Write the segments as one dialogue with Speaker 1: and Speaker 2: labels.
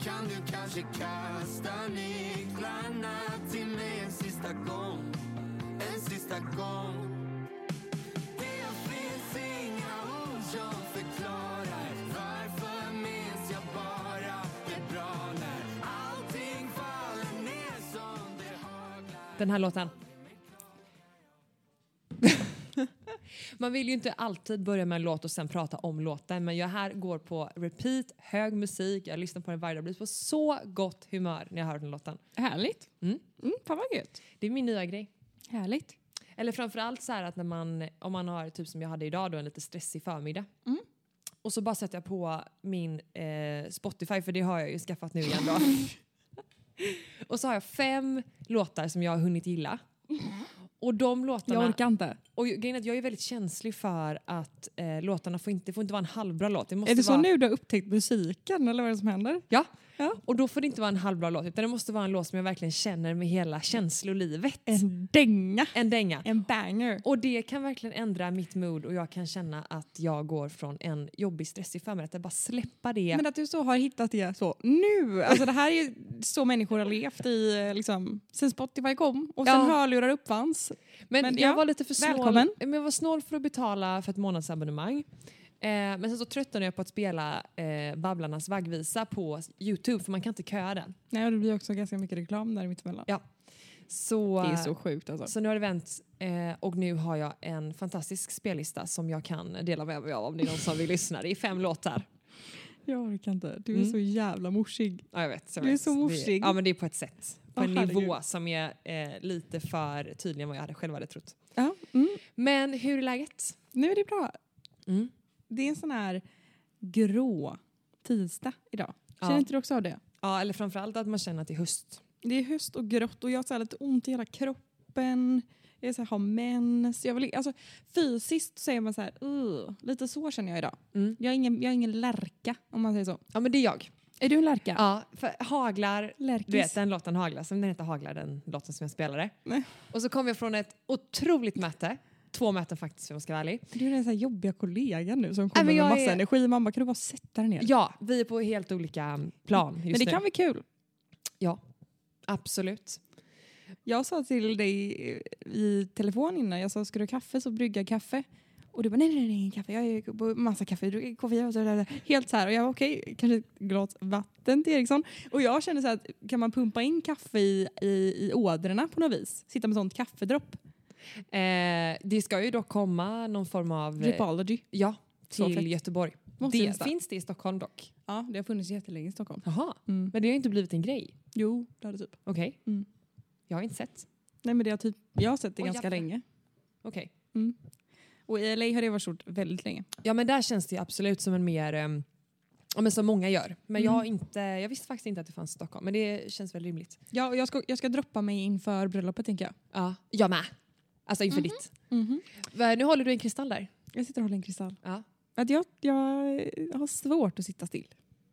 Speaker 1: du kanske kasta nycklarna till mig en sista gång, en sista gång. Det finns inga ord som förklarar varför minns jag bara det bra när allting faller ner som det haglar.
Speaker 2: Den här låten. Man vill ju inte alltid börja med en låt och sen prata om låten men jag här går på repeat, hög musik, jag lyssnar på den varje dag, blir på så gott humör när jag hör den låten.
Speaker 3: Härligt.
Speaker 2: Mm.
Speaker 3: Mm, fan vad gött.
Speaker 2: Det är min nya grej.
Speaker 3: Härligt.
Speaker 2: Eller framförallt så här att när man, om man har typ som jag hade idag då en lite stressig förmiddag.
Speaker 3: Mm.
Speaker 2: Och så bara sätter jag på min eh, Spotify för det har jag ju skaffat nu igen då. och så har jag fem låtar som jag har hunnit gilla. Och de låtarna...
Speaker 3: Mm. Jag orkar inte.
Speaker 2: Och ju- grejen är att jag är väldigt känslig för att eh, låtarna får inte, får inte vara en halvbra låt. Det måste
Speaker 3: Är det så
Speaker 2: vara,
Speaker 3: nu du har upptäckt musiken eller vad är det som händer?
Speaker 2: Ja.
Speaker 3: Ja.
Speaker 2: Och då får det inte vara en halvbra låt utan det måste vara en låt som jag verkligen känner med hela känslolivet.
Speaker 3: En dänga.
Speaker 2: En dänga.
Speaker 3: En banger.
Speaker 2: Och det kan verkligen ändra mitt mood och jag kan känna att jag går från en jobbig stressig förmiddag till att bara släppa det.
Speaker 3: Men att du så har hittat det så nu. Alltså det här är ju så människor har levt i eh, liksom, sen Spotify kom och sen
Speaker 2: Ja.
Speaker 3: hörlurar uppfanns.
Speaker 2: Men,
Speaker 3: Men
Speaker 2: jag
Speaker 3: ja,
Speaker 2: var lite för snål.
Speaker 3: välkommen.
Speaker 2: Men jag var snål för att betala för ett månadsabonnemang. Eh, men sen så tröttnade jag på att spela eh, Babblarnas vaggvisa på Youtube för man kan inte köa den.
Speaker 3: Nej, och det blir också ganska mycket reklam där mittemellan.
Speaker 2: Så,
Speaker 3: Det är så sjukt alltså.
Speaker 2: så nu har det vänt eh, och nu har jag en fantastisk spellista som jag kan dela med mig av om det är någon som vill lyssna. Det är fem låtar.
Speaker 3: Jag orkar inte. Du är
Speaker 2: Mm.
Speaker 3: så jävla morsig.
Speaker 2: Ja, jag vet. jag
Speaker 3: Du är
Speaker 2: vet.
Speaker 3: så
Speaker 2: Det-
Speaker 3: morsig.
Speaker 2: Ja, men det är på ett sätt. På
Speaker 3: Åh,
Speaker 2: en nivå
Speaker 3: herregud.
Speaker 2: som är eh, lite för tydlig än vad jag hade själv hade trott.
Speaker 3: Ja. Mm.
Speaker 2: Men hur är läget?
Speaker 3: Nu är det bra.
Speaker 2: Mm.
Speaker 3: Det är en sån här grå tisdag idag. Känner
Speaker 2: Ja.
Speaker 3: inte du också av det?
Speaker 2: Ja, eller framförallt att man känner att det är höst.
Speaker 3: Det är höst och grått och jag har så här lite ont i hela kroppen. Jag är så här, har mens. Jag vill, alltså, fysiskt så är man så här, "Ugh." lite så känner jag idag.
Speaker 2: Mm.
Speaker 3: Jag är, ingen, jag är ingen lärka om man säger så.
Speaker 2: Ja, men det är jag.
Speaker 3: Är du en lärka?
Speaker 2: Ja, för haglar...
Speaker 3: Lärkis.
Speaker 2: Du vet den låten Haglar, som den heter Haglar, den låten som jag spelade.
Speaker 3: Nej.
Speaker 2: Och så kom jag från ett otroligt möte. Två möten faktiskt om jag ska vara ärlig.
Speaker 3: Du är den så här jobbiga kollegan nu som
Speaker 2: men
Speaker 3: kommer med
Speaker 2: jag
Speaker 3: massa
Speaker 2: är-
Speaker 3: energi. Man bara, kan du bara sätta dig ner?
Speaker 2: Ja, vi är på helt olika mm, plan just
Speaker 3: Men det
Speaker 2: nu.
Speaker 3: kan vara kul.
Speaker 2: Absolut.
Speaker 3: Jag sa till dig eh, i telefon innan, jag sa ska du ha kaffe så brygga jag kaffe. Och du bara nej nej nej ingen kaffe, jag är på massa kaffe, du dricker koffein och så där. Helt så här och jag var okej, kanske ett glas vatten till Eriksson. Och jag kände så här, att kan man pumpa in kaffe i, i, i ådrorna på något vis? Sitta med sånt kaffedropp,
Speaker 2: Eh, det ska ju dock komma någon form av... eh,
Speaker 3: dripology.
Speaker 2: Ja,
Speaker 3: Så
Speaker 2: till
Speaker 3: fräckt.
Speaker 2: Göteborg.
Speaker 3: Måste
Speaker 2: det
Speaker 3: gästa.
Speaker 2: finns det i Stockholm dock.
Speaker 3: Ja, det har funnits jättelänge i Stockholm.
Speaker 2: Jaha,
Speaker 3: Mm.
Speaker 2: men det har ju inte blivit en grej.
Speaker 3: Jo, det har det typ.
Speaker 2: Okej.
Speaker 3: Mm.
Speaker 2: Jag har inte sett.
Speaker 3: Nej men det har typ, jag har sett det
Speaker 2: Oj,
Speaker 3: ganska
Speaker 2: jävlar.
Speaker 3: länge.
Speaker 2: Okej.
Speaker 3: Och i LA har det varit stort väldigt länge.
Speaker 2: Ja men där känns det ju absolut som en mer, ehm, ja men som många gör. Men jag, har inte, jag visste faktiskt inte att det fanns i Stockholm men det känns väl rimligt.
Speaker 3: Ja, och jag ska, jag ska droppa mig inför bröllopet tänker jag.
Speaker 2: Ja, jag med. Alltså inför ditt.
Speaker 3: Mhm.
Speaker 2: Va, Nu håller du en kristall där.
Speaker 3: Jag sitter och håller en kristall.
Speaker 2: Ja.
Speaker 3: Att jag, jag har svårt att sitta still.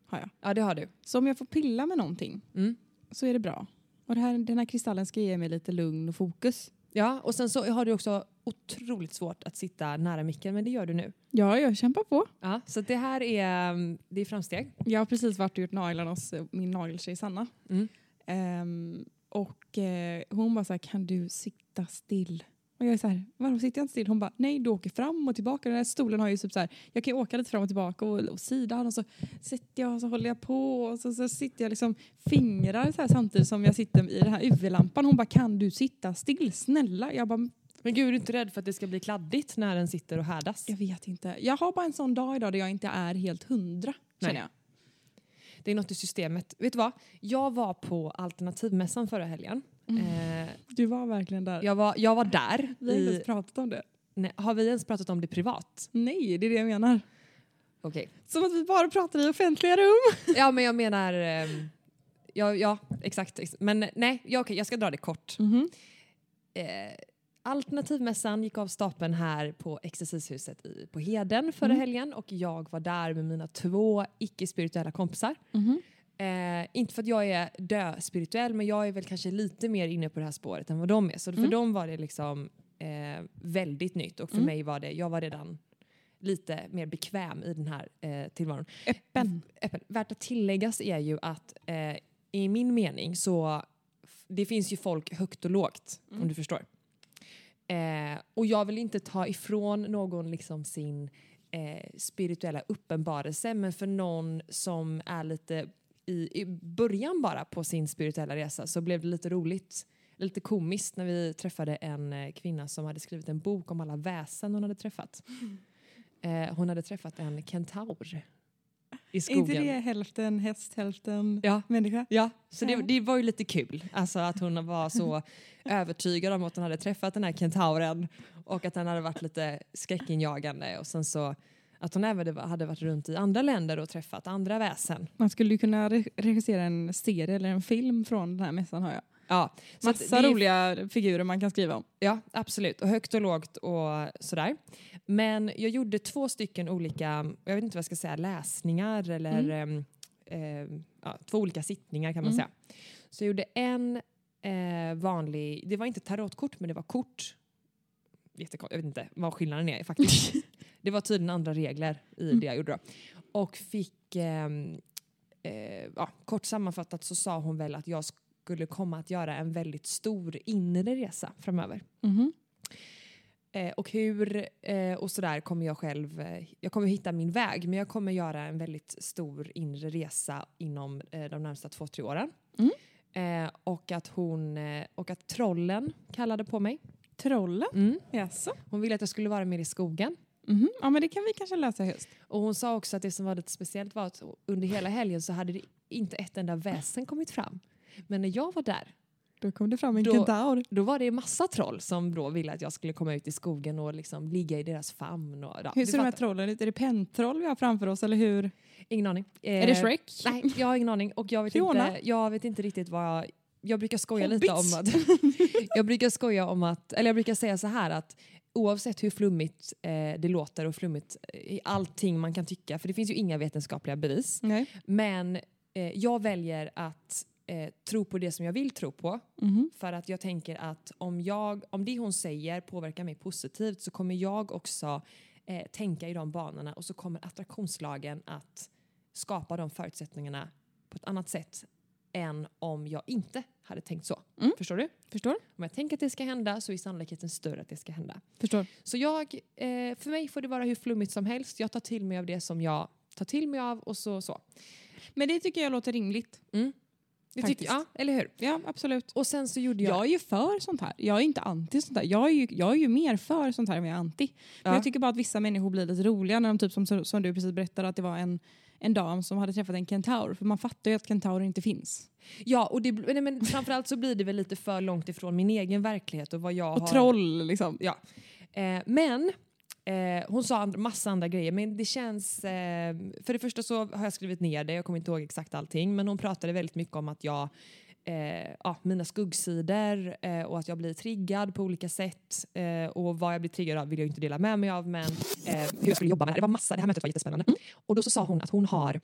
Speaker 3: Har jag.
Speaker 2: Ja det har du.
Speaker 3: Så om jag får pilla med någonting
Speaker 2: Mm.
Speaker 3: så är det bra. Och det här, den här kristallen ska ge mig lite lugn och fokus.
Speaker 2: Ja och sen så har du också otroligt svårt att sitta nära micken men det gör du nu.
Speaker 3: Ja, jag kämpar på.
Speaker 2: Ja, så det här är, ehm, det är framsteg.
Speaker 3: Jag har precis varit och gjort naglarna hos eh, min nageltjej Sanna.
Speaker 2: Mm.
Speaker 3: Ehm, och eh, hon bara så här, kan du sitta still? Och jag är så här, varför sitter jag inte still? Hon bara, nej du åker fram och tillbaka. Den här stolen har ju typ så här, jag kan ju åka lite fram och tillbaka och, och sidan och så sitter jag och så håller jag på och så, så sitter jag liksom fingrar så här samtidigt som jag sitter i den här UV-lampan. Hon bara, kan du sitta still? Snälla? Jag bara, "Mm,
Speaker 2: Men gud är du inte rädd för att det ska bli kladdigt när den sitter och härdas?
Speaker 3: jag vet inte. Jag har bara en sån dag idag där jag inte är helt hundra,
Speaker 2: Nej.
Speaker 3: känner jag.
Speaker 2: Det är något i systemet. Vet du vad? Jag var på alternativmässan förra helgen. Eh,
Speaker 3: Du var verkligen där.
Speaker 2: jag, var, jag var där.
Speaker 3: Vi har inte
Speaker 2: I,
Speaker 3: ens pratat om det.
Speaker 2: nej, har vi ens pratat om det privat?
Speaker 3: Nej, det är det jag menar.
Speaker 2: Okej.
Speaker 3: Som att vi bara pratar i offentliga rum.
Speaker 2: Ja, men jag menar... ehm, ja, ja, exakt. ex- Men nej, ja, okej, jag ska dra det kort.
Speaker 3: Mhm,
Speaker 2: Eh, Alternativmässan gick av stapeln här på Exercishuset i, på Heden förra helgen och jag var där med mina två icke-spirituella kompisar.
Speaker 3: mhm.
Speaker 2: Eh, inte för att jag är dö-spirituell men jag är väl kanske lite mer inne på det här spåret än vad de är. Så för dem var det liksom eh, väldigt nytt och för mig var det, jag var redan lite mer bekväm i den här eh, tillvaron.
Speaker 3: Öppen.
Speaker 2: Öppen. Värt att tilläggas är ju att eh, i min mening så f- det finns ju folk högt och lågt om du förstår. Eh, och jag vill inte ta ifrån någon liksom sin eh, spirituella uppenbarelse men för någon som är lite i, i början bara på sin spirituella resa så blev det lite roligt, lite komiskt när vi träffade en eh, kvinna som hade skrivit en bok om alla väsen hon hade träffat.
Speaker 3: Mm.
Speaker 2: Eh, hon hade träffat en kentaur i
Speaker 3: Är inte
Speaker 2: skogen.
Speaker 3: det hälften häst, hälften
Speaker 2: Ja.
Speaker 3: människa?
Speaker 2: Ja, så det,
Speaker 3: Ja.
Speaker 2: det var ju lite kul. Alltså att hon var så övertygad om att hon hade träffat den här kentauren och att den hade varit lite skräckinjagande och sen så att hon även hade varit runt i andra länder och träffat andra väsen.
Speaker 3: Man skulle ju kunna re- regissera en serie eller en film från den här mässan har jag.
Speaker 2: Ja, så att
Speaker 3: Massa
Speaker 2: det är-
Speaker 3: roliga figurer man kan skriva om.
Speaker 2: Ja, absolut. Och högt och lågt och sådär. Men jag gjorde två stycken olika, jag vet inte vad jag ska säga, läsningar eller ehm, ehm, ja, två olika sittningar kan man
Speaker 3: Mm.
Speaker 2: säga. Så jag gjorde en eh, vanlig, det var inte tarotkort men det var kort. Jättekort, jag vet inte vad skillnaden är faktiskt. det var tydligen andra regler i det jag gjorde då. Och fick, ehm, eh, ja, kort sammanfattat så sa hon väl att jag skulle komma att göra en väldigt stor inre resa framöver.
Speaker 3: Mhm.
Speaker 2: Eh, och hur eh, och sådär kommer jag själv, eh, jag kommer hitta min väg men jag kommer göra en väldigt stor inre resa inom eh, de närmsta två, tre åren.
Speaker 3: Mm.
Speaker 2: Eh, och, att hon, eh, och att trollen kallade på mig.
Speaker 3: Trollen?
Speaker 2: Mm.
Speaker 3: Jaså?
Speaker 2: Hon ville att jag skulle vara mer i skogen.
Speaker 3: Mhm. Ja men det kan vi kanske lösa i höst.
Speaker 2: Och hon sa också att det som var lite speciellt var att under hela helgen så hade det inte ett enda väsen kommit fram. Men när jag var där,
Speaker 3: Då kom det fram en
Speaker 2: Då-
Speaker 3: kentaur.
Speaker 2: då var det massa troll som då ville att jag skulle komma ut i skogen och liksom ligga i deras famn. Och, ja,
Speaker 3: Hur
Speaker 2: du
Speaker 3: ser de här
Speaker 2: fattar.
Speaker 3: trollen ut? Är det pentroll vi har framför oss eller hur?
Speaker 2: Ingen aning.
Speaker 3: Är det
Speaker 2: Eh,
Speaker 3: Shrek?
Speaker 2: Nej, jag har ingen aning. Och jag vet,
Speaker 3: Fiona?
Speaker 2: inte, jag vet inte riktigt vad jag... Jag brukar skoja lite om
Speaker 3: Hobbits?
Speaker 2: att... jag brukar skoja om att... Eller jag brukar säga så här att oavsett hur flummigt eh, det låter och flummigt eh, i allting man kan tycka, för det finns ju inga vetenskapliga bevis,
Speaker 3: Nej.
Speaker 2: men eh, jag väljer att eh, tro på det som jag vill tro på.
Speaker 3: Mhm.
Speaker 2: För att jag tänker att om, jag, om det hon säger påverkar mig positivt så kommer jag också eh, tänka i de banorna och så kommer attraktionslagen att skapa de förutsättningarna på ett annat sätt än om jag inte hade tänkt så.
Speaker 3: Mm.
Speaker 2: Förstår du?
Speaker 3: Förstår.
Speaker 2: Om jag tänker att det ska hända så är sannolikheten större att det ska hända.
Speaker 3: Förstår.
Speaker 2: Så jag, eh, för mig får det vara hur flummigt som helst. Jag tar till mig av det som jag tar till mig av och så. så.
Speaker 3: Men det tycker jag låter rimligt.
Speaker 2: Det tycker,
Speaker 3: Faktiskt.
Speaker 2: ja, eller hur?
Speaker 3: Ja, absolut.
Speaker 2: Och sen så gjorde jag...
Speaker 3: Jag är ju för sånt här. Jag är inte anti sånt här. Jag är ju, jag är ju mer för sånt här än jag är anti. Men
Speaker 2: Ja.
Speaker 3: jag tycker bara att vissa människor blir lite roliga när de typ som, som du precis berättade att det var en, en dam som hade träffat en kentaur. För man fattar ju att kentaurer inte finns.
Speaker 2: Ja, och det, nej, men framförallt så blir det väl lite för långt ifrån min egen verklighet och vad jag
Speaker 3: Och
Speaker 2: har...
Speaker 3: troll liksom.
Speaker 2: Ja. Eh, men eh, hon sa and- massa andra grejer, men det känns... Eh, för det första så har jag skrivit ner det, jag kommer inte ihåg exakt allting, men hon pratade väldigt mycket om att jag... Eh, ja, mina skuggsidor eh, och att jag blir triggad på olika sätt. Eh, och vad jag blir triggad av vill jag inte dela med mig av, men eh, hur jag skulle jobba med det. Det var massa, det här mötet var jättespännande.
Speaker 3: Mm.
Speaker 2: Och då så sa hon att hon har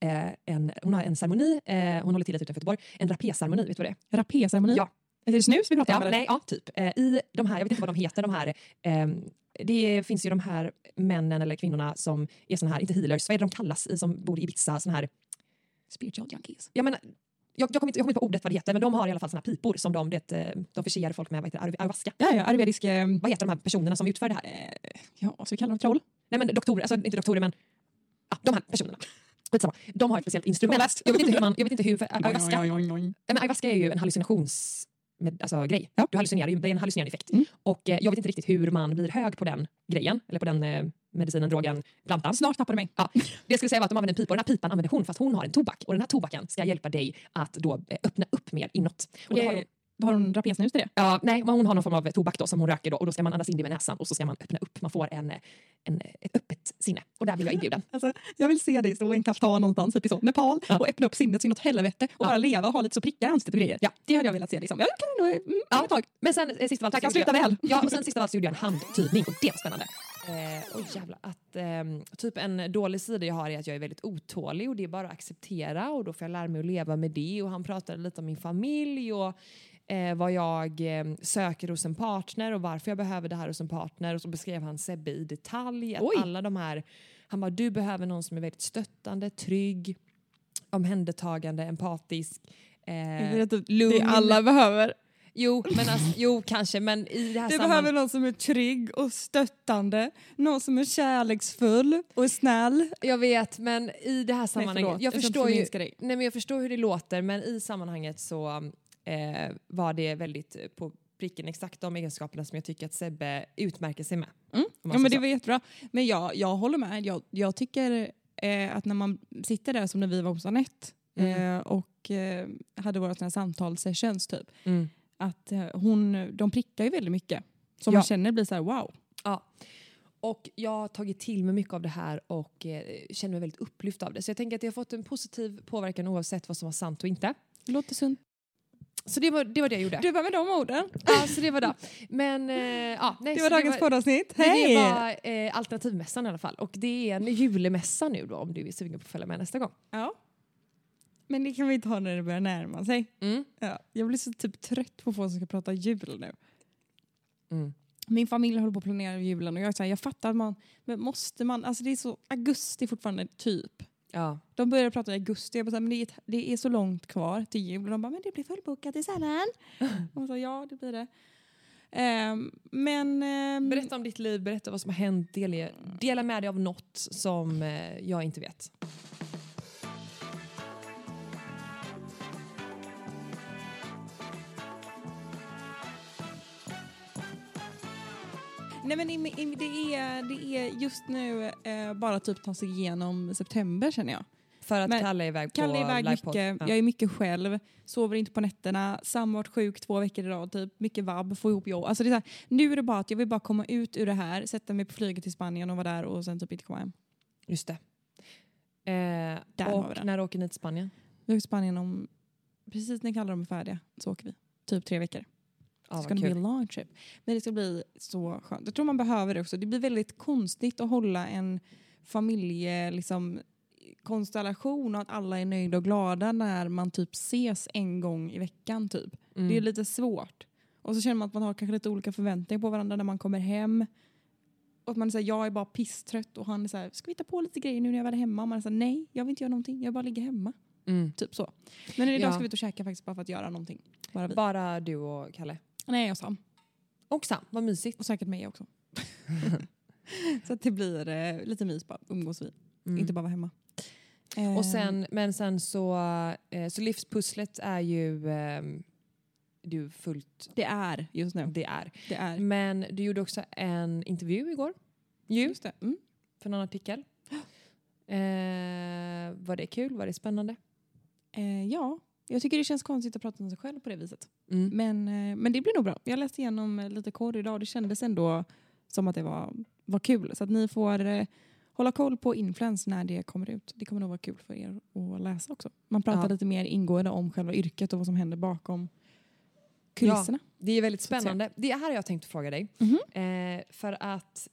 Speaker 2: eh, en, hon har en ceremoni, eh, hon håller till rätt utanför Göteborg, en rapé-ceremoni, vet du vad det är?
Speaker 3: Rapé-ceremoni.
Speaker 2: Ja.
Speaker 3: Är det snus vi pratar
Speaker 2: Ja,
Speaker 3: om? eller?
Speaker 2: nej, ja, typ. Eh, I de här, jag vet inte vad de heter, de här, ehm, det finns ju de här männen eller kvinnorna som är såna här, inte healers, vad är det de kallas i som bor i Ibiza, såna här,
Speaker 3: Spiritual junkies.
Speaker 2: jag menar, jag, jag kommer inte, jag kommer inte på ordet vad det heter, men de har i alla fall såna här pipor som de, det, de förser folk med, vad heter det, Ayur- ayahuasca.
Speaker 3: Ja, ja. Ayurvedisk... Eh,
Speaker 2: Vad heter de här personerna som utför det här? Eh,
Speaker 3: ja, så vi kallar dem troll.
Speaker 2: Nej men doktorer, alltså inte doktorer men ja, de här personerna. Skitsamma. De har ett speciellt instrument.
Speaker 3: Påläst.
Speaker 2: Jag vet inte hur man, jag vet inte hur, för eh, ayahuasca
Speaker 3: Oj, oj, oj, oj.
Speaker 2: Nej, men ayahuasca är ju en hallucinations... Med, alltså, grej. Du hallucinerar, ju- det är en hallucinerande effekt.
Speaker 3: Mm.
Speaker 2: Och eh, jag vet inte riktigt hur man blir hög på den grejen, eller på den eh, medicinen, drogen, plantan.
Speaker 3: Snart tappar du mig.
Speaker 2: Ja, det jag skulle säga var att de använder en pipa och den här pipan använder hon fast hon har en tobak. Och den här tobaken ska hjälpa dig att då eh, öppna upp mer inåt. Och då har hon,
Speaker 3: Då har hon rapésnus till det.
Speaker 2: ja, nej, men hon har någon form av tobak då som hon röker då och då ska man andas in det med näsan och så ska man öppna upp. Man får en, eh, en, eh, ett öppet sinne. Och där blir jag inbjuden.
Speaker 3: Alltså, jag vill se dig stå i en kaftan någonstans, typ i så, Nepal, och öppna upp sinnet så inåt helvete och
Speaker 2: Ja.
Speaker 3: bara leva och ha lite så prickar i ansiktet och grejer.
Speaker 2: Ja.
Speaker 3: Det hade jag velat se. Liksom. Jag kan nog... Mm,
Speaker 2: Ja.
Speaker 3: ett tag.
Speaker 2: Men sen eh, sist av allt
Speaker 3: Jag
Speaker 2: så
Speaker 3: kan
Speaker 2: gjorde
Speaker 3: sluta väl.
Speaker 2: Ja, och sen sista av allt så gjorde jag en handtydning och det var spännande. Eh, oj jävlar. Att, ehm, typ en dålig sida jag har är att jag är väldigt otålig och det är bara att acceptera och då får jag lära mig att leva med det. Och han pratade lite om min familj och eh, vad jag eh, söker hos en partner och varför jag behöver det här hos en partner. Och så beskrev han Sebbe i detalj. Att
Speaker 3: Oj.
Speaker 2: alla de här, han bara, du behöver någon som är väldigt stöttande, trygg, omhändertagande, empatisk.
Speaker 3: Jag
Speaker 2: Eh,
Speaker 3: vet att Det alla behöver.
Speaker 2: jo, men alltså, jo, kanske, men i det här
Speaker 3: Du
Speaker 2: sammanhanget.
Speaker 3: behöver någon som är trygg och stöttande, någon som är kärleksfull och snäll.
Speaker 2: Jag vet, men i det här sammanhanget. jag,
Speaker 3: förlåt. Jag ska inte
Speaker 2: förstår ju,
Speaker 3: förminska dig.
Speaker 2: nej, men jag förstår hur det låter, men i sammanhanget så eh, var det väldigt eh, på pricken exakt de egenskaperna som jag tycker att Sebbe utmärker sig med. Om man
Speaker 3: Mm. Ja,
Speaker 2: säger
Speaker 3: men det
Speaker 2: så.
Speaker 3: var jättebra. Men jag, jag håller med. Jag, jag tycker eh, att när man sitter där som när vi var hos Anette eh, och eh, hade våra såna här samtalssessions typ.
Speaker 2: Mm.
Speaker 3: Att eh, hon, de prickar ju väldigt mycket. Som
Speaker 2: Ja.
Speaker 3: man känner blir så här wow.
Speaker 2: Ja. Och jag har tagit till mig mycket av det här och eh, känner mig väldigt upplyft av det. Så jag tänker att det har fått en positiv påverkan oavsett vad som var sant och inte.
Speaker 3: Låter sunt.
Speaker 2: Så det var det, var det jag gjorde.
Speaker 3: Du var med de orden.
Speaker 2: Ja, så det var det. Men, eh, ja, nej,
Speaker 3: Det
Speaker 2: så
Speaker 3: var dagens poddavsnitt.
Speaker 2: Men
Speaker 3: Hej!
Speaker 2: Det var eh, alternativmässan i alla fall. Och det är en julemässa nu då om du är sugen på att följa med nästa gång.
Speaker 3: Ja. Men det kan vi ta när det börjar närma sig.
Speaker 2: Mm.
Speaker 3: Ja. Jag blir så typ trött på folk som ska prata jul nu.
Speaker 2: Mm.
Speaker 3: Min familj håller på att planera julen och jag, är så här, jag fattar att man, men måste man, alltså det är så augusti fortfarande typ.
Speaker 2: Ja.
Speaker 3: De började prata i augusti. Jag bara, så här, men det, är, det är så långt kvar till jul. Och de bara, men det blir fullbokat i sällan. Och jag sa, ja det blir det. Ehm, men... ehm,
Speaker 2: Berätta om ditt liv, berätta vad som har hänt, dela, dela med dig av något som eh, jag inte vet.
Speaker 3: Nej men i- i- det är, det är just nu eh, bara typ ta sig igenom september känner jag.
Speaker 2: För att
Speaker 3: Men
Speaker 2: Kalle är iväg på
Speaker 3: Kalle är iväg
Speaker 2: livepodd.
Speaker 3: mycket,
Speaker 2: Ja.
Speaker 3: jag är mycket själv, sover inte på nätterna, samma varit sjuk två veckor i rad, typ. mycket vabb, få ihop jobb. Alltså det är så här, nu är det bara att jag vill bara komma ut ur det här, sätta mig på flyget till Spanien och vara där och sen typ inte komma hem.
Speaker 2: Just det. Eh,
Speaker 3: Där har vi
Speaker 2: och
Speaker 3: den.
Speaker 2: när åker ni till Spanien?
Speaker 3: Vi åker till Spanien om, precis när Kalle och de är färdiga så åker vi. Typ tre veckor.
Speaker 2: Ja,
Speaker 3: det
Speaker 2: Ah,
Speaker 3: ska
Speaker 2: vad
Speaker 3: bli
Speaker 2: kul.
Speaker 3: en long trip. Men det ska bli så skönt. Jag tror man behöver det också. Det blir väldigt konstigt att hålla en familje, liksom, konstellation och att alla är nöjda och glada när man typ ses en gång i veckan. Typ.
Speaker 2: Mm.
Speaker 3: Det är lite svårt. Och så känner man att man har kanske lite olika förväntningar på varandra när man kommer hem. Och att man säger jag är bara pisstrött och han är så här, ska vi ta på lite grejer nu när jag väl är hemma? Och man är så här, nej, jag vill inte göra någonting, jag vill bara ligga hemma.
Speaker 2: Mm.
Speaker 3: Typ så. Men idag
Speaker 2: Ja.
Speaker 3: ska vi ut och käka faktiskt bara för att göra någonting. Bara vi.
Speaker 2: Bara du och Kalle?
Speaker 3: nej, jag Sam.
Speaker 2: Och Sam, vad mysigt.
Speaker 3: Och säkert mig också. så att det blir eh, lite mys bara, umgås vi.
Speaker 2: Mm.
Speaker 3: Inte bara vara hemma. Eh,
Speaker 2: Och sen, men sen så, eh, så livspusslet är ju ehm, du fullt,
Speaker 3: det är just nu.
Speaker 2: det är.
Speaker 3: Det är.
Speaker 2: Men du gjorde också en intervju igår ju,
Speaker 3: Just det. Mm.
Speaker 2: för någon artikel. Eh, var det kul? Var det spännande?
Speaker 3: Eh, ja, jag tycker det känns konstigt att prata om sig själv på det viset.
Speaker 2: Mm.
Speaker 3: Men, eh, men det blir nog bra. Jag läste igenom eh, lite korr idag och det kändes ändå som att det var, var kul. Så att ni får eh, hålla koll på Influence när det kommer ut. Det kommer nog vara kul för er att läsa också. Man pratar
Speaker 2: Ja.
Speaker 3: lite mer ingående om själva yrket och vad som händer bakom kulisserna.
Speaker 2: Det är väldigt
Speaker 3: Så att säga.
Speaker 2: spännande. Det här har jag tänkt fråga dig.
Speaker 3: Mhm.
Speaker 2: Eh, för att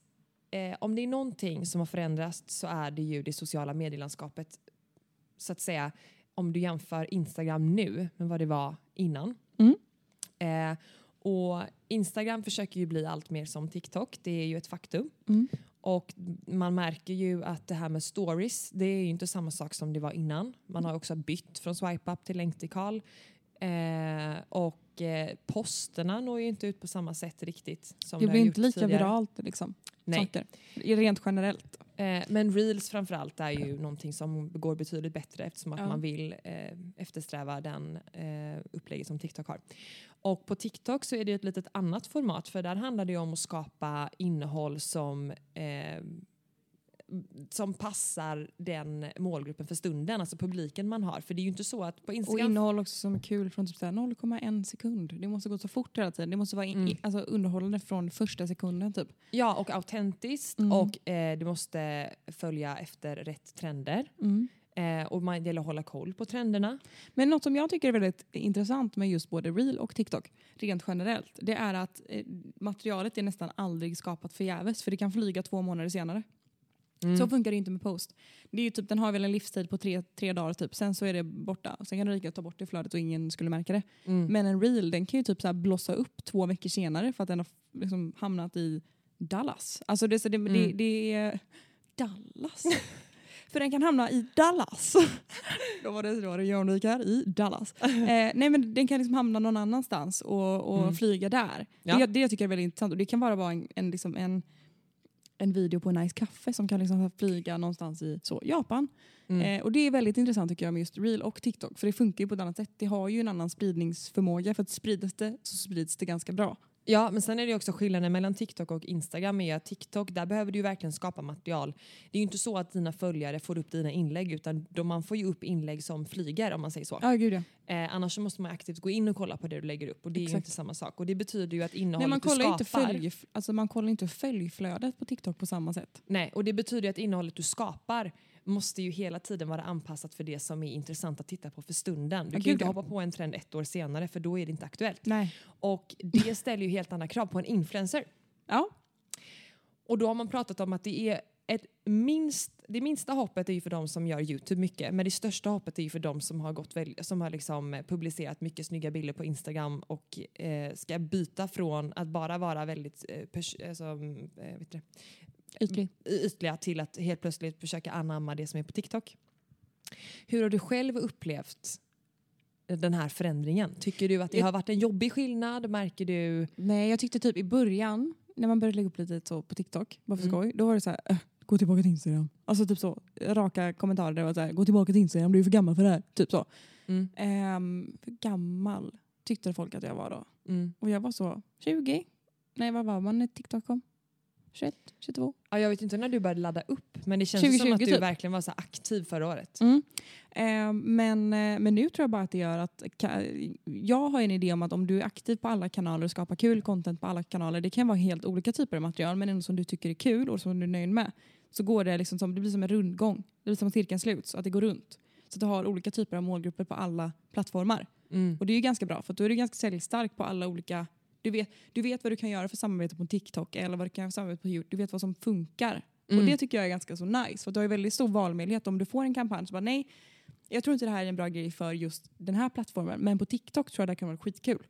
Speaker 2: eh, om det är någonting som har förändrats så är det ju det sociala medielandskapet. Så att säga, om du jämför Instagram nu med vad det var innan.
Speaker 3: Mm.
Speaker 2: Eh, och Instagram försöker ju bli allt mer som TikTok, det är ju ett faktum.
Speaker 3: Mm.
Speaker 2: Och man märker ju att det här med stories, det är ju inte samma sak som det var innan. Man har också bytt från swipe up till länktikal. Eh, och eh, posterna når ju inte ut på samma sätt riktigt. Som
Speaker 3: Det
Speaker 2: har
Speaker 3: blir inte
Speaker 2: gjort
Speaker 3: lika
Speaker 2: tidigare.
Speaker 3: viralt liksom.
Speaker 2: Nej.
Speaker 3: Saker. Rent generellt.
Speaker 2: Eh, men reels framförallt är ju någonting som går betydligt bättre eftersom att
Speaker 3: Ja.
Speaker 2: man vill eh, eftersträva den eh, upplägget som TikTok har. Och på TikTok så är det ju ett litet annat format för där handlar det ju om att skapa innehåll som eh, som passar den målgruppen för stunden, alltså publiken man har. För det är ju inte så att på
Speaker 3: Och
Speaker 2: Instagram...
Speaker 3: innehåll också som är kul från typ så här 0,1 sekund. Det måste gå så fort hela tiden. Det måste vara in,
Speaker 2: Mm.
Speaker 3: i- alltså underhållande från första sekunden typ.
Speaker 2: ja, och autentiskt
Speaker 3: Mm.
Speaker 2: och eh, du måste följa efter rätt trender. Eh, och man, det gäller att hålla koll på trenderna.
Speaker 3: Men något som jag tycker är väldigt intressant med just både Reel och TikTok rent generellt det är att eh, materialet är nästan aldrig skapat förgäves för det kan flyga två månader senare.
Speaker 2: Mm.
Speaker 3: Så funkar det inte med post. Det är ju typ, den har väl en livstid på tre, tre dagar typ, sen så är det borta. Sen kan du lika gärna ta bort det i flödet och ingen skulle märka det.
Speaker 2: Mm.
Speaker 3: Men en reel den kan ju typ så här blossa upp två veckor senare för att den har f- liksom hamnat i Dallas. Alltså det, så det, det, det är Dallas. för den kan hamna i Dallas. Då var det, då var det Jörnvik här, i Dallas. Eh, nej men den kan liksom hamna någon annanstans och, och flyga där.
Speaker 2: Ja.
Speaker 3: Det, det tycker jag är väldigt intressant och det kan vara bara en, en, liksom en en video på en nice kaffe som kan liksom flyga någonstans i så, Japan. Eh, och det är väldigt intressant tycker jag med just Reel och TikTok för det funkar ju på ett annat sätt. Det har ju en annan spridningsförmåga för att sprids det så sprids det ganska bra.
Speaker 2: Ja, men sen är det ju också skillnaden mellan TikTok och Instagram är att TikTok, där behöver du ju verkligen skapa material. Det är ju inte så att dina följare får upp dina inlägg utan de, man får ju upp inlägg som flyger om man säger så.
Speaker 3: Ja, gud ja.
Speaker 2: Eh, annars så måste man aktivt gå in och kolla på det du lägger upp och det är ju
Speaker 3: Exakt.
Speaker 2: inte samma sak. Och det betyder ju att innehållet
Speaker 3: Men man
Speaker 2: du
Speaker 3: kollar, inte
Speaker 2: skapar...
Speaker 3: följ, alltså man kollar inte följflödet på TikTok på samma sätt.
Speaker 2: Nej, och det betyder ju att innehållet du skapar måste ju hela tiden vara anpassat för det som är intressant att titta på för stunden. Du kan ju
Speaker 3: gud,
Speaker 2: inte
Speaker 3: ja.
Speaker 2: hoppa på en trend ett år senare för då är det inte aktuellt.
Speaker 3: Nej.
Speaker 2: Och det ställer ju helt andra krav på en influencer.
Speaker 3: Ja,
Speaker 2: Och då har man pratat om att det är ett minst, det minsta hoppet är ju för de som gör Youtube mycket men det största hoppet är ju för de som har, gått väl, som har liksom eh, publicerat mycket snygga bilder på Instagram och eh, ska byta från att bara vara väldigt eh, pers- alltså, mm, eh, vet du det,
Speaker 3: ytlig.
Speaker 2: y- ytliga till att helt plötsligt försöka anamma det som är på TikTok. Hur har du själv upplevt den här förändringen? Tycker du att det
Speaker 3: Jag-
Speaker 2: har varit en jobbig skillnad? Märker du?
Speaker 3: Nej, jag tyckte typ i början, när man började lägga upp lite så på TikTok, bara för skoj, då var det så här, "Äh, gå tillbaka till Instagram. Alltså typ så, raka kommentarer där det var så här, gå tillbaka till Instagram, du är för gammal för det här. Typ så.
Speaker 2: Mm.
Speaker 3: Ehm, för gammal tyckte folk att jag var då.
Speaker 2: Mm.
Speaker 3: Och jag var så 20, nej vad var man när TikTok kom? 21, 22?
Speaker 2: Ja, jag vet inte när du började ladda upp men det känns
Speaker 3: 2020
Speaker 2: som att du
Speaker 3: typ.
Speaker 2: verkligen var så här aktiv förra året.
Speaker 3: Mm. Eh, men, eh, men nu tror jag bara att det gör att ka- jag har en idé om att om du är aktiv på alla kanaler och skapar kul content på alla kanaler, det kan vara helt olika typer av material men ändå som du tycker är kul och som du är nöjd med, så går det liksom som, det blir som en rundgång. Det blir som att cirkeln sluts, att det går runt. Så att du har olika typer av målgrupper på alla plattformar.
Speaker 2: Mm.
Speaker 3: Och det är ju ganska bra för att då är du ganska säljstark på alla olika... Du vet, du vet vad du kan göra för samarbete på TikTok eller vad du kan göra för samarbete på YouTube. Du vet vad som funkar. Och det tycker jag är ganska så nice. För att du har ju väldigt stor valmöjlighet. Om du får en kampanj så bara nej, jag tror inte det här är en bra grej för just den här plattformen. Men på TikTok tror jag det här kan vara skitkul.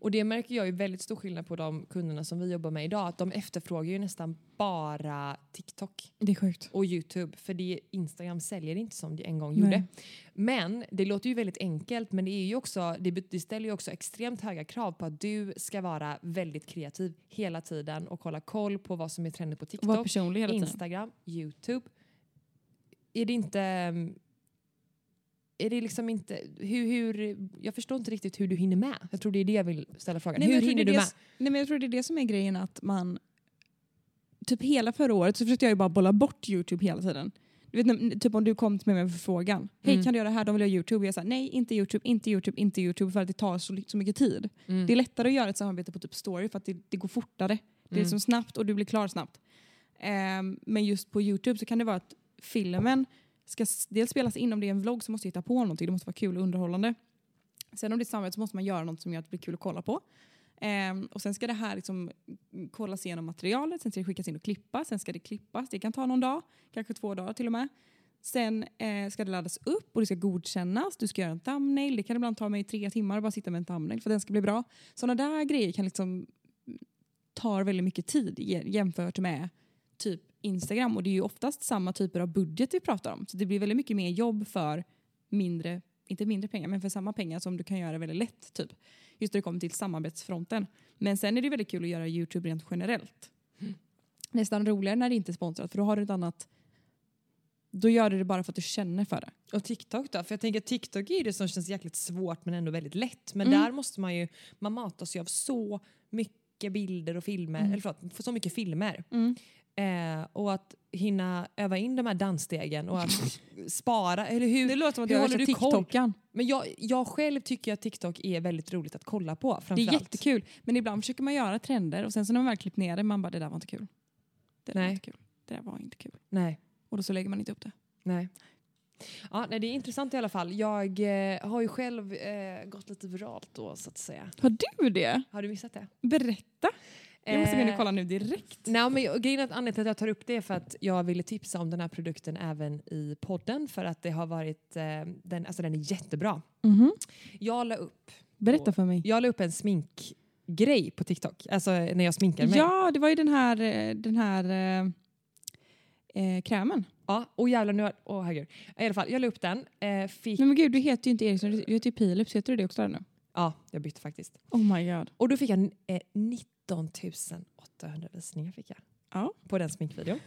Speaker 2: Och det märker jag ju väldigt stor skillnad på de kunderna som vi jobbar med idag. Att de efterfrågar ju nästan bara TikTok
Speaker 3: Det är sjukt.
Speaker 2: och YouTube. För det Instagram säljer inte som det en gång
Speaker 3: Nej.
Speaker 2: gjorde. Men det låter ju väldigt enkelt men det, är ju också, det, bet- det ställer ju också extremt höga krav på att du ska vara väldigt kreativ hela tiden och hålla koll på vad som är trendigt på
Speaker 3: Och vara
Speaker 2: TikTok.
Speaker 3: personlig hela tiden.
Speaker 2: Instagram, Youtube. Är det inte... mm, Är det liksom inte... Hur, hur, jag förstår inte riktigt hur du hinner med. Jag tror det är det jag vill ställa frågan.
Speaker 3: men
Speaker 2: hur
Speaker 3: jag tror
Speaker 2: hinner
Speaker 3: det
Speaker 2: du
Speaker 3: är
Speaker 2: med?
Speaker 3: det, Nej, men jag tror det är det som är grejen att man... Typ hela förra året så försökte jag ju bara bolla bort Youtube hela tiden. Du vet, när- typ om du kom till mig med en förfrågan. Hej,
Speaker 2: Mm.
Speaker 3: kan du göra det här? De vill ha Youtube. Jag sa nej, inte Youtube, inte Youtube, inte Youtube för att det tar så, så mycket tid.
Speaker 2: Mm.
Speaker 3: Det är lättare att göra ett samarbete på typ story för att det, det går fortare. Det
Speaker 2: Mm.
Speaker 3: är liksom snabbt och du blir klar snabbt. Ehm, men just på Youtube så kan det vara att filmen ska s- dels spelas in, om det är en vlogg så måste du hitta på någonting. Det måste vara kul och underhållande. Sen om det är ett samarbete så måste man göra något som gör att det blir kul att kolla på. Ehm, och sen ska det här liksom mm, kollas igenom materialet, sen ska det skickas in och klippas, sen ska det klippas. Det kan ta någon dag, kanske två dagar till och med. Sen eh, ska det laddas upp och det ska godkännas. Du ska göra en thumbnail. Det kan ibland ta mig tre timmar att bara sitta med en thumbnail för att den ska bli bra. Sådana där grejer kan liksom tar väldigt mycket tid je- jämfört med typ Instagram och det är ju oftast samma typer av budget vi pratar om. Så det blir väldigt mycket mer jobb för mindre, inte mindre pengar, men för samma pengar som du kan göra väldigt lätt typ. Just när det kommer till samarbetsfronten. Men sen är det väldigt kul att göra Youtube rent generellt. Nästan roligare när det inte är sponsrat för då har du ett annat då gör du det bara för att du känner för det.
Speaker 2: Och TikTok då? För jag tänker att TikTok är ju det som känns jäkligt svårt men ändå väldigt lätt. Men där måste man ju, man matas ju av så mycket bilder och filmer, eller förlåt, för så mycket filmer. Eh, och att hinna öva in de här dansstegen och att spara, eller hur,
Speaker 3: Det låter som att
Speaker 2: hur
Speaker 3: jag
Speaker 2: håller
Speaker 3: är
Speaker 2: du koll?
Speaker 3: TikTokan.
Speaker 2: Men jag, jag själv tycker att TikTok är väldigt roligt att kolla på.
Speaker 3: Det är
Speaker 2: framförallt.
Speaker 3: jättekul. Men ibland försöker man göra trender och sen så när man väl klippt ner det, man bara det där var inte kul. Det där
Speaker 2: Nej.
Speaker 3: var inte kul. Det där var inte kul.
Speaker 2: Nej,
Speaker 3: Och då så lägger man inte upp det.
Speaker 2: nej. Ja, nej, det är intressant i alla fall. Jag eh, har ju själv eh, gått lite viralt då så att säga.
Speaker 3: Har du det?
Speaker 2: Har du missat det?
Speaker 3: Berätta. Jag måste gå in
Speaker 2: Eh,
Speaker 3: och kolla nu direkt.
Speaker 2: Nej, men jag- grejen är att anledningen till att jag tar upp det är för att jag ville tipsa om den här produkten även i podden för att det har varit, eh, den, alltså den är jättebra. Jag la upp,
Speaker 3: Mm-hmm. Berätta för mig.
Speaker 2: jag la upp en sminkgrej på TikTok, alltså när jag sminkar mig.
Speaker 3: Ja, det var ju den här, eh, den här eh, eh, krämen.
Speaker 2: Ja, och jävlar nu, har- åh herregud. I alla fall, jag la upp den, eh, fick,
Speaker 3: Nej men gud, du heter ju inte Eriksson, du heter ju Philips. Heter du det också där nu?
Speaker 2: ja jag bytte faktiskt.
Speaker 3: Oh my god.
Speaker 2: Och då fick jag eh, 19 800 visningar fick jag.
Speaker 3: Ja.
Speaker 2: På den sminkvideon.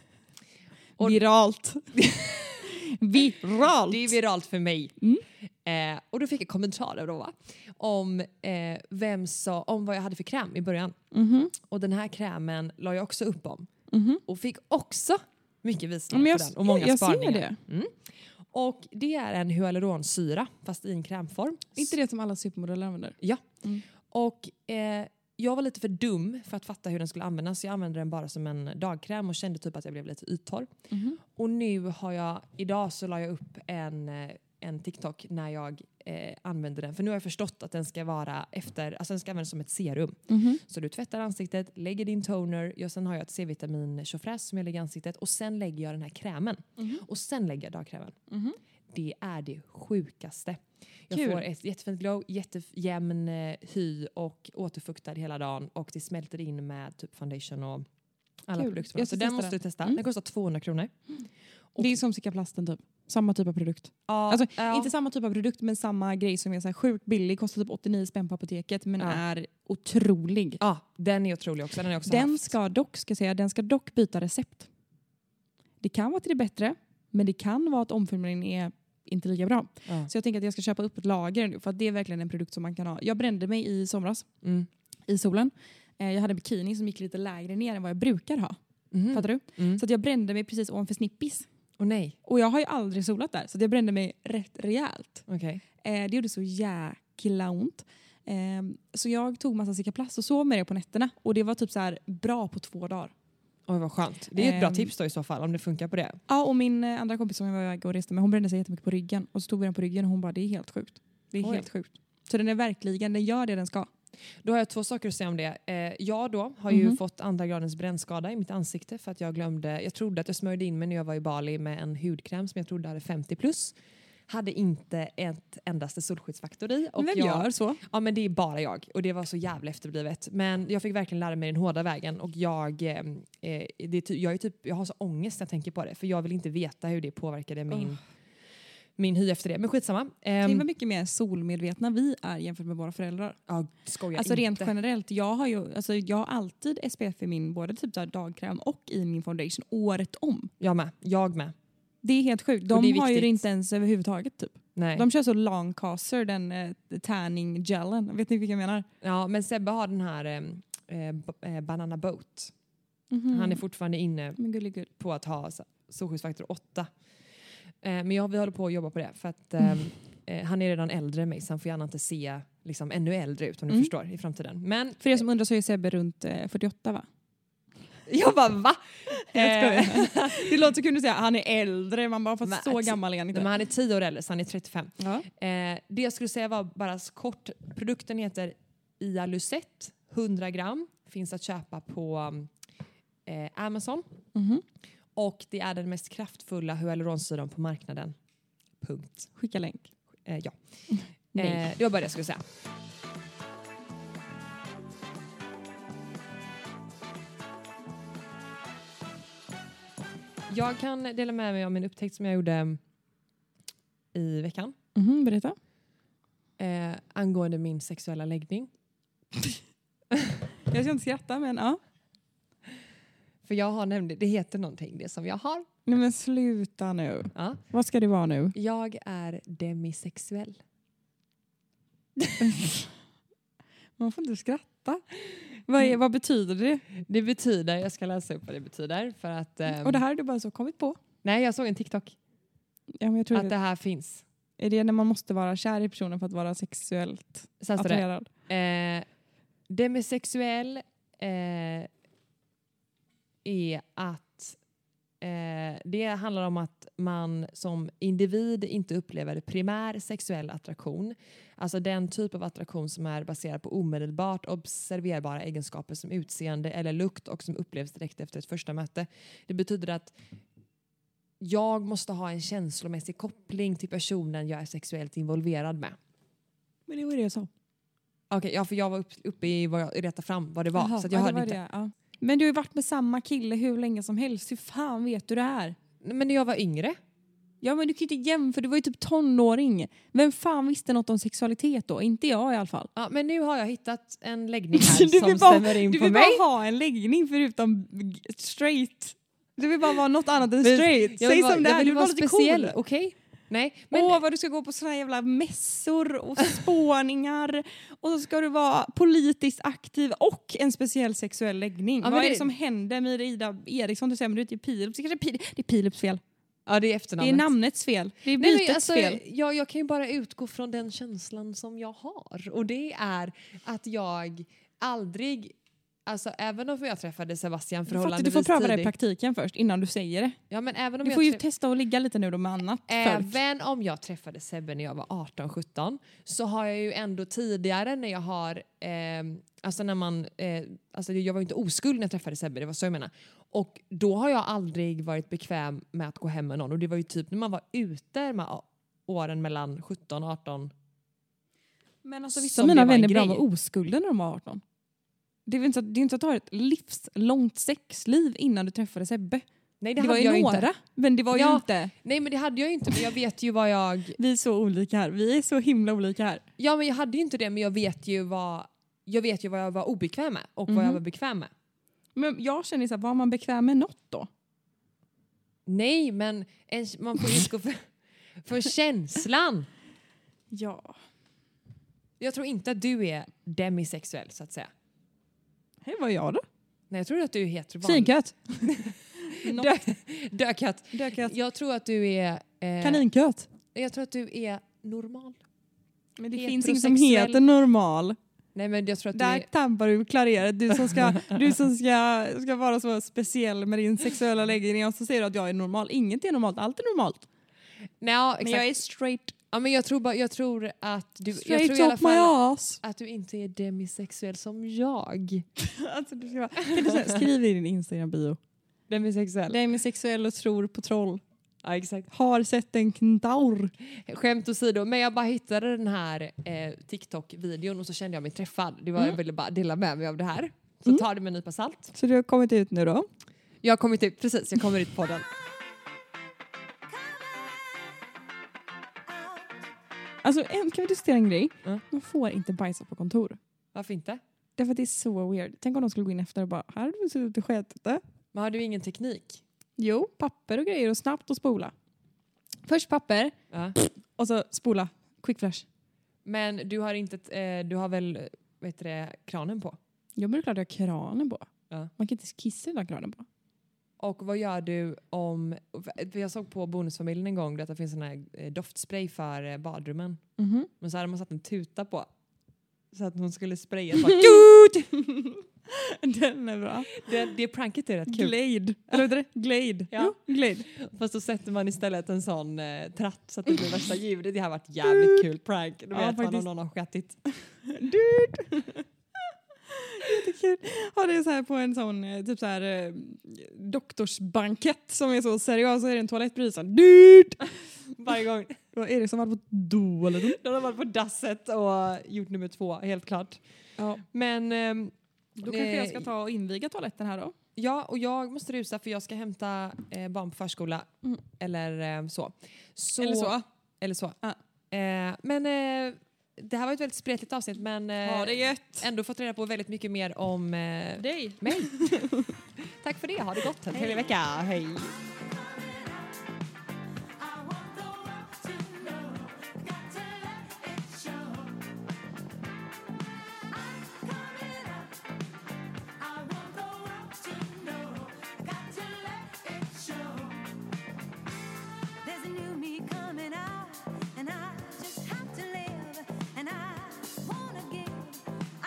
Speaker 2: Och-
Speaker 3: Viralt. Viralt.
Speaker 2: Det är viralt för mig.
Speaker 3: Mm.
Speaker 2: Eh, och då fick jag kommentarer då, va? om eh, vem sa, om vad jag hade för kräm i början.
Speaker 3: Mhm.
Speaker 2: Och den här krämen la jag också upp om.
Speaker 3: Mhm.
Speaker 2: Och fick också mycket
Speaker 3: Ja,
Speaker 2: visningar
Speaker 3: men jag,
Speaker 2: på den och många
Speaker 3: jag
Speaker 2: sparningar.
Speaker 3: ser det.
Speaker 2: Och det är en hyaluronsyra fast i en krämform.
Speaker 3: inte det som alla supermodeller använder?
Speaker 2: Och eh, jag var lite för dum för att fatta hur den skulle användas så jag använde den bara som en dagkräm och kände typ att jag blev lite yttorr. Och nu har jag, idag så la jag upp en, eh, en TikTok när jag eh, använder den. För nu har jag förstått att den ska vara efter, alltså den ska användas som ett serum.
Speaker 3: Mhm.
Speaker 2: Så du tvättar ansiktet, lägger din toner, jag, sen har jag ett C-vitamin tjofräs som jag lägger i ansiktet och sen lägger jag den här krämen. Och sen lägger jag dagkrämen.
Speaker 3: Mhm.
Speaker 2: Det är det sjukaste. Jag
Speaker 3: Kul.
Speaker 2: får ett jättefint glow, jättejämn eh, hy och återfuktad hela dagen och det smälter in med typ foundation och alla
Speaker 3: Kul.
Speaker 2: produkter.
Speaker 3: Jag
Speaker 2: Så
Speaker 3: ska
Speaker 2: den
Speaker 3: testa
Speaker 2: måste
Speaker 3: den.
Speaker 2: du testa.
Speaker 3: Mm.
Speaker 2: Den kostar 200 kronor.
Speaker 3: Det är som Cicaplasten typ. Samma typ av produkt.
Speaker 2: Ja,
Speaker 3: Alltså,
Speaker 2: ja.
Speaker 3: Inte samma typ av produkt men samma grej som är så här sjukt billig. Kostar typ 89 spänn på apoteket men
Speaker 2: Ja.
Speaker 3: är otrolig.
Speaker 2: Ja, den är otrolig också. Den är också
Speaker 3: Den
Speaker 2: haft.
Speaker 3: ska dock, ska jag säga, den ska dock byta recept. Det kan vara till det bättre, men det kan vara att omförmningen är inte lika bra.
Speaker 2: Ja.
Speaker 3: Så jag tänker att jag ska köpa upp ett lager nu för att det är verkligen en produkt som man kan ha. Jag brände mig i somras
Speaker 2: Mm.
Speaker 3: i solen. Eh, Jag hade en bikini som gick lite lägre ner än vad jag brukar ha.
Speaker 2: Mhm.
Speaker 3: Fattar du?
Speaker 2: Mm.
Speaker 3: Så att jag brände mig precis ovanför snippis.
Speaker 2: Åh nej,
Speaker 3: Och jag har ju aldrig solat där så att jag brände mig rätt rejält.
Speaker 2: okej.
Speaker 3: Eh, det gjorde så jäkla ont. Eh, så jag tog massa cicaplast och sov med det på nätterna. Och det var typ så här bra på två dagar.
Speaker 2: Oj vad skönt. Det är ett bra
Speaker 3: Ehm.
Speaker 2: tips då i så fall om det funkar på det.
Speaker 3: Ja, och min eh, andra kompis som jag var iväg och reste med, hon brände sig jättemycket på ryggen. Och så tog vi den på ryggen och hon bara, det är helt sjukt. Det är
Speaker 2: Oj.
Speaker 3: helt sjukt. Så den är verkligen, den gör det den ska.
Speaker 2: Då har jag två saker att säga om det. Eh, jag då har ju
Speaker 3: Mhm.
Speaker 2: fått andra gradens brännskada i mitt ansikte för att jag glömde, jag trodde att jag smörjde in mig när jag var i Bali med en hudkräm som jag trodde hade 50 plus. Hade inte ett endaste solskyddsfaktor i.
Speaker 3: Och
Speaker 2: Och
Speaker 3: Vem
Speaker 2: jag,
Speaker 3: gör så?
Speaker 2: Ja men det är bara jag och det var så jävla efterblivet. Men jag fick verkligen lära mig den hårda vägen och jag, eh, eh, det är ty- jag, är typ, jag har så ångest när jag tänker på det för jag vill inte veta hur det påverkade min,
Speaker 3: Oh.
Speaker 2: min hy efter det. Men skitsamma. Ehm,
Speaker 3: Tänk vad mycket mer solmedvetna vi är jämfört med våra föräldrar.
Speaker 2: ja, skoja
Speaker 3: alltså rent
Speaker 2: inte.
Speaker 3: generellt, jag har ju alltså, jag har alltid SPF i min både typ där dagkräm och i min foundation året om.
Speaker 2: Jag med. Jag med.
Speaker 3: Det är helt sjukt.
Speaker 2: Och det är
Speaker 3: De har ju
Speaker 2: viktigt.
Speaker 3: det inte ens överhuvudtaget typ.
Speaker 2: Nej.
Speaker 3: De kör så Lancaster, den eh, tanning gelen. Vet ni vilken jag menar?
Speaker 2: Ja, men Sebbe har den här eh, eh, b- eh, Banana Boat. Mm-hmm.
Speaker 3: Mm.
Speaker 2: Han är fortfarande inne
Speaker 3: Mm-hmm. Men gullig gull.
Speaker 2: på att ha so- solskyddsfaktor 8. Eh, men jag, vi håller på att jobba på det för att
Speaker 3: Mm.
Speaker 2: ehm, eh, han är redan äldre än mig så han får gärna inte se liksom, ännu äldre ut om du
Speaker 3: Mm.
Speaker 2: förstår i framtiden. Men
Speaker 3: För er som undrar så är Sebbe runt eh, 48 va?
Speaker 2: jag bara va? Eh,
Speaker 3: skojar. Det låter så kul att säga han är äldre, man bara
Speaker 2: Men- alltså,
Speaker 3: fast så gammal är han
Speaker 2: men
Speaker 3: inte.
Speaker 2: han är 10 år äldre så han är 35.
Speaker 3: Ja.
Speaker 2: Eh, det jag skulle säga var bara så kort. Produkten heter Ialuset 100 gram. Finns att köpa på eh, Amazon.
Speaker 3: Mhm.
Speaker 2: Och det är den mest kraftfulla hyaluronsyran på marknaden. Punkt.
Speaker 3: Skicka länk.
Speaker 2: Eh, ja.
Speaker 3: Nej.
Speaker 2: Eh, det var bara det jag skulle säga. Jag kan dela med mig av min upptäckt som jag gjorde mm, i veckan
Speaker 3: Mhm, berätta.
Speaker 2: eh, angående min sexuella läggning.
Speaker 3: Jag ska inte skratta men ja.
Speaker 2: För jag har nämligen, det heter någonting det som jag har.
Speaker 3: Nej men sluta nu.
Speaker 2: Ja.
Speaker 3: Vad ska det vara nu?
Speaker 2: Jag är demisexuell.
Speaker 3: Man får inte skratta. Vad, är, vad betyder det?
Speaker 2: Det betyder, jag ska läsa upp vad det betyder för att... ehm,
Speaker 3: Och det här har du bara så kommit på?
Speaker 2: Nej, jag såg en TikTok.
Speaker 3: Ja, men jag tror
Speaker 2: Att
Speaker 3: det,
Speaker 2: det här finns.
Speaker 3: Är det när man måste vara kär i personen för att vara sexuellt
Speaker 2: Så här står det.
Speaker 3: attraherad?
Speaker 2: Eh, demisexuell eh, är att Eh, det handlar om att man som individ inte upplever primär sexuell attraktion. Alltså den typ av attraktion som är baserad på omedelbart observerbara egenskaper som utseende eller lukt och som upplevs direkt efter ett första möte. Det betyder att jag måste ha en känslomässig koppling till personen jag är sexuellt involverad med.
Speaker 3: Men det var det jag sa.
Speaker 2: Okej, ja, för jag var upp, uppe i vad jag rätta fram vad det var. så att jag
Speaker 3: ja, det
Speaker 2: hörde
Speaker 3: var
Speaker 2: inte.
Speaker 3: det, ja. Men du har ju varit med samma kille hur länge som helst. Hur fan vet du det här?
Speaker 2: Nej, Men när jag var yngre.
Speaker 3: Ja men du kan ju inte jämföra, du var ju typ tonåring. Vem fan visste något om sexualitet då? Inte jag i alla fall.
Speaker 2: Ja, men nu har jag hittat en läggning här
Speaker 3: Du vill
Speaker 2: som
Speaker 3: bara-
Speaker 2: stämmer in
Speaker 3: Du
Speaker 2: på
Speaker 3: vill
Speaker 2: mig.
Speaker 3: bara ha en läggning förutom g- straight. Du vill bara vara något annat än
Speaker 2: Men
Speaker 3: straight.
Speaker 2: jag vill
Speaker 3: Säg
Speaker 2: vara-
Speaker 3: som det
Speaker 2: jag
Speaker 3: är,
Speaker 2: vill
Speaker 3: du vill
Speaker 2: vara
Speaker 3: vara lite
Speaker 2: speciell,
Speaker 3: cool.
Speaker 2: Okej? Nej, men
Speaker 3: Men, Åh vad du ska gå på såna jävla mässor och spåningar och så ska du vara politiskt aktiv och en speciell sexuell läggning.
Speaker 2: Ja, men
Speaker 3: vad är
Speaker 2: det-
Speaker 3: det som händer med Ida Eriksson till exempel ute i Pirup? Det kanske är Pil- det är Pirups fel.
Speaker 2: ja, det är
Speaker 3: Det
Speaker 2: efternamnet.
Speaker 3: är namnets fel. Det är
Speaker 2: Nej,
Speaker 3: bytets
Speaker 2: men alltså,
Speaker 3: fel.
Speaker 2: jag, jag kan ju bara utgå från den känslan som jag har. Och det är att jag aldrig, alltså även om jag träffade Sebastian
Speaker 3: Du, fattar, du
Speaker 2: förhållandevis
Speaker 3: får pröva det i
Speaker 2: tidigt.
Speaker 3: praktiken först innan du säger det.
Speaker 2: ja, men även om
Speaker 3: Du
Speaker 2: jag
Speaker 3: får ju
Speaker 2: träff-
Speaker 3: testa att ligga lite nu då med annat folk.
Speaker 2: Även om jag träffade Sebbe när jag var 18-17 så har jag ju ändå tidigare när jag har, ehm, alltså när man, eh, alltså jag var ju inte oskuld när jag träffade Sebbe, det var så jag menade. Och då har jag aldrig varit bekväm med att gå hem med någon och det var ju typ när man var ute de här åren mellan 17 och 18.
Speaker 3: Men
Speaker 2: alltså,
Speaker 3: alltså,
Speaker 2: vissa
Speaker 3: vissa
Speaker 2: av det
Speaker 3: av mina
Speaker 2: var en
Speaker 3: vänner blir av
Speaker 2: grej.
Speaker 3: med oskulden när de var 18. Det är väl inte så att, det är inte att ha ett livslångt sexliv innan du träffade Sebbe.
Speaker 2: Nej
Speaker 3: Det, var
Speaker 2: hade
Speaker 3: ju
Speaker 2: jag
Speaker 3: några,
Speaker 2: inte.
Speaker 3: men det var ju
Speaker 2: Ja.
Speaker 3: inte...
Speaker 2: Nej men det hade jag ju inte men jag vet ju vad jag,
Speaker 3: Vi är så olika här. Vi är så himla olika här.
Speaker 2: ja men jag hade ju inte det men jag vet ju vad, jag vet ju vad jag var obekväm med och vad jag
Speaker 3: Mhm.
Speaker 2: var bekväm med.
Speaker 3: Men jag känner så här, var man bekväm med något då?
Speaker 2: Nej, men en, man får utgå för, för känslan.
Speaker 3: Ja.
Speaker 2: Jag tror inte att du är demisexuell så att säga.
Speaker 3: Hej, vad är jag då?
Speaker 2: Nej, jag tror att du är hetero. vanlig.
Speaker 3: Tjejkatt. Dö-
Speaker 2: Dö- Dökatt.
Speaker 3: Dökatt.
Speaker 2: Jag tror att du är... Eh,
Speaker 3: Kaninkatt.
Speaker 2: Jag tror att du är normal.
Speaker 3: Men det
Speaker 2: finns inget
Speaker 3: finns inget
Speaker 2: som
Speaker 3: som
Speaker 2: heter
Speaker 3: heter normal.
Speaker 2: Nej, men jag tror att
Speaker 3: Där
Speaker 2: du är...
Speaker 3: tampar du klareret. Du som, ska, du som ska, ska vara så speciell med din sexuella läggning och så säger du att jag är normal. Inget är normalt, allt är normalt.
Speaker 2: Nej, ja, exakt.
Speaker 3: är straight.
Speaker 2: ja, men jag tror, bara, jag tror att du... jag
Speaker 3: Straight
Speaker 2: tror i alla
Speaker 3: up my
Speaker 2: fall
Speaker 3: ass.
Speaker 2: att du inte är demisexuell som jag.
Speaker 3: Alltså, du ska bara, kan du säga, skriv i din Instagram-bio.
Speaker 2: Demisexuell?
Speaker 3: Jag är sexuell och tror på troll.
Speaker 2: Ja, exakt.
Speaker 3: Har sett en kentaur.
Speaker 2: Skämt åsido, men jag bara hittade den här eh, TikTok-videon och så kände jag mig träffad. Det var,
Speaker 3: Mm.
Speaker 2: Jag ville bara dela med mig av det här. Så ta det med en nypa salt.
Speaker 3: Så du har kommit ut nu då?
Speaker 2: Jag har kommit ut, precis, jag kommer ut på den.
Speaker 3: Alltså en, kan vi diskutera en grej?
Speaker 2: Ja.
Speaker 3: Man får inte bajsa på kontor.
Speaker 2: Varför inte?
Speaker 3: Därför att det är så weird. Tänk om de skulle gå in efter och bara, här har du suttit och skitit det.
Speaker 2: Men har du ingen teknik?
Speaker 3: Jo, papper och grejer och snabbt och spola. Först papper
Speaker 2: Ja.
Speaker 3: och så spola. Quick flash.
Speaker 2: Men du har inte, ett, eh, du har väl, eh, vad heter det, kranen på?
Speaker 3: Jag brukar ha kranen på.
Speaker 2: Ja.
Speaker 3: Man kan inte kissa utan kranen på.
Speaker 2: Och vad gör du om, för jag såg på Bonusfamiljen en gång att det finns sån här eh, doftspray för eh, badrummen. Men så hade man satt en tuta på. Så att hon skulle spraya. Så bara,
Speaker 3: Den är bra.
Speaker 2: det, det pranket är rätt kul.
Speaker 3: Glade. Eller vad heter det? Glade.
Speaker 2: Ja.
Speaker 3: Jo, glade.
Speaker 2: Fast då sätter man istället en sån eh, tratt så att det blir värsta ljudet. Det här har varit jävligt kul prank. Då
Speaker 3: Ja,
Speaker 2: vet man om
Speaker 3: faktiskt.
Speaker 2: någon har skrattit.
Speaker 3: Dude. Jättekul. Har det är så här på en sån eh, typ så här eh, doktorsbankett som är så seriös så är det en toalett precis såhär dyrt.
Speaker 2: Varje gång.
Speaker 3: Då är det som varit på dåligt.
Speaker 2: De har varit på dasset och gjort nummer två, helt klart.
Speaker 3: Ja.
Speaker 2: Men ehm,
Speaker 3: Då kanske jag
Speaker 2: eh,
Speaker 3: ska ta och inviga toaletten här då.
Speaker 2: Ja, och jag måste rusa för jag ska hämta eh, barn på förskola.
Speaker 3: Mm.
Speaker 2: Eller eh, så. så.
Speaker 3: Eller så.
Speaker 2: Eller så.
Speaker 3: Ja.
Speaker 2: Eh, men eh, det här var ett väldigt spretigt avsnitt men eh,
Speaker 3: Ha det gött.
Speaker 2: ändå fått reda på väldigt mycket mer om eh,
Speaker 3: Dig.
Speaker 2: mig. Tack för det, ha det gott. En trevlig vecka. Hej.
Speaker 1: I want the world to know. Got to let it show. I'm coming up. I want the world to know. Got to let it show. There's a new me coming out, and I just have to live, and I wanna give.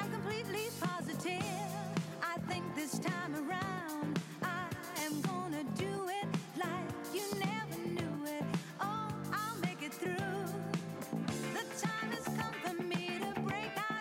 Speaker 1: I'm completely positive. I think this time around I am gonna do it, Oh,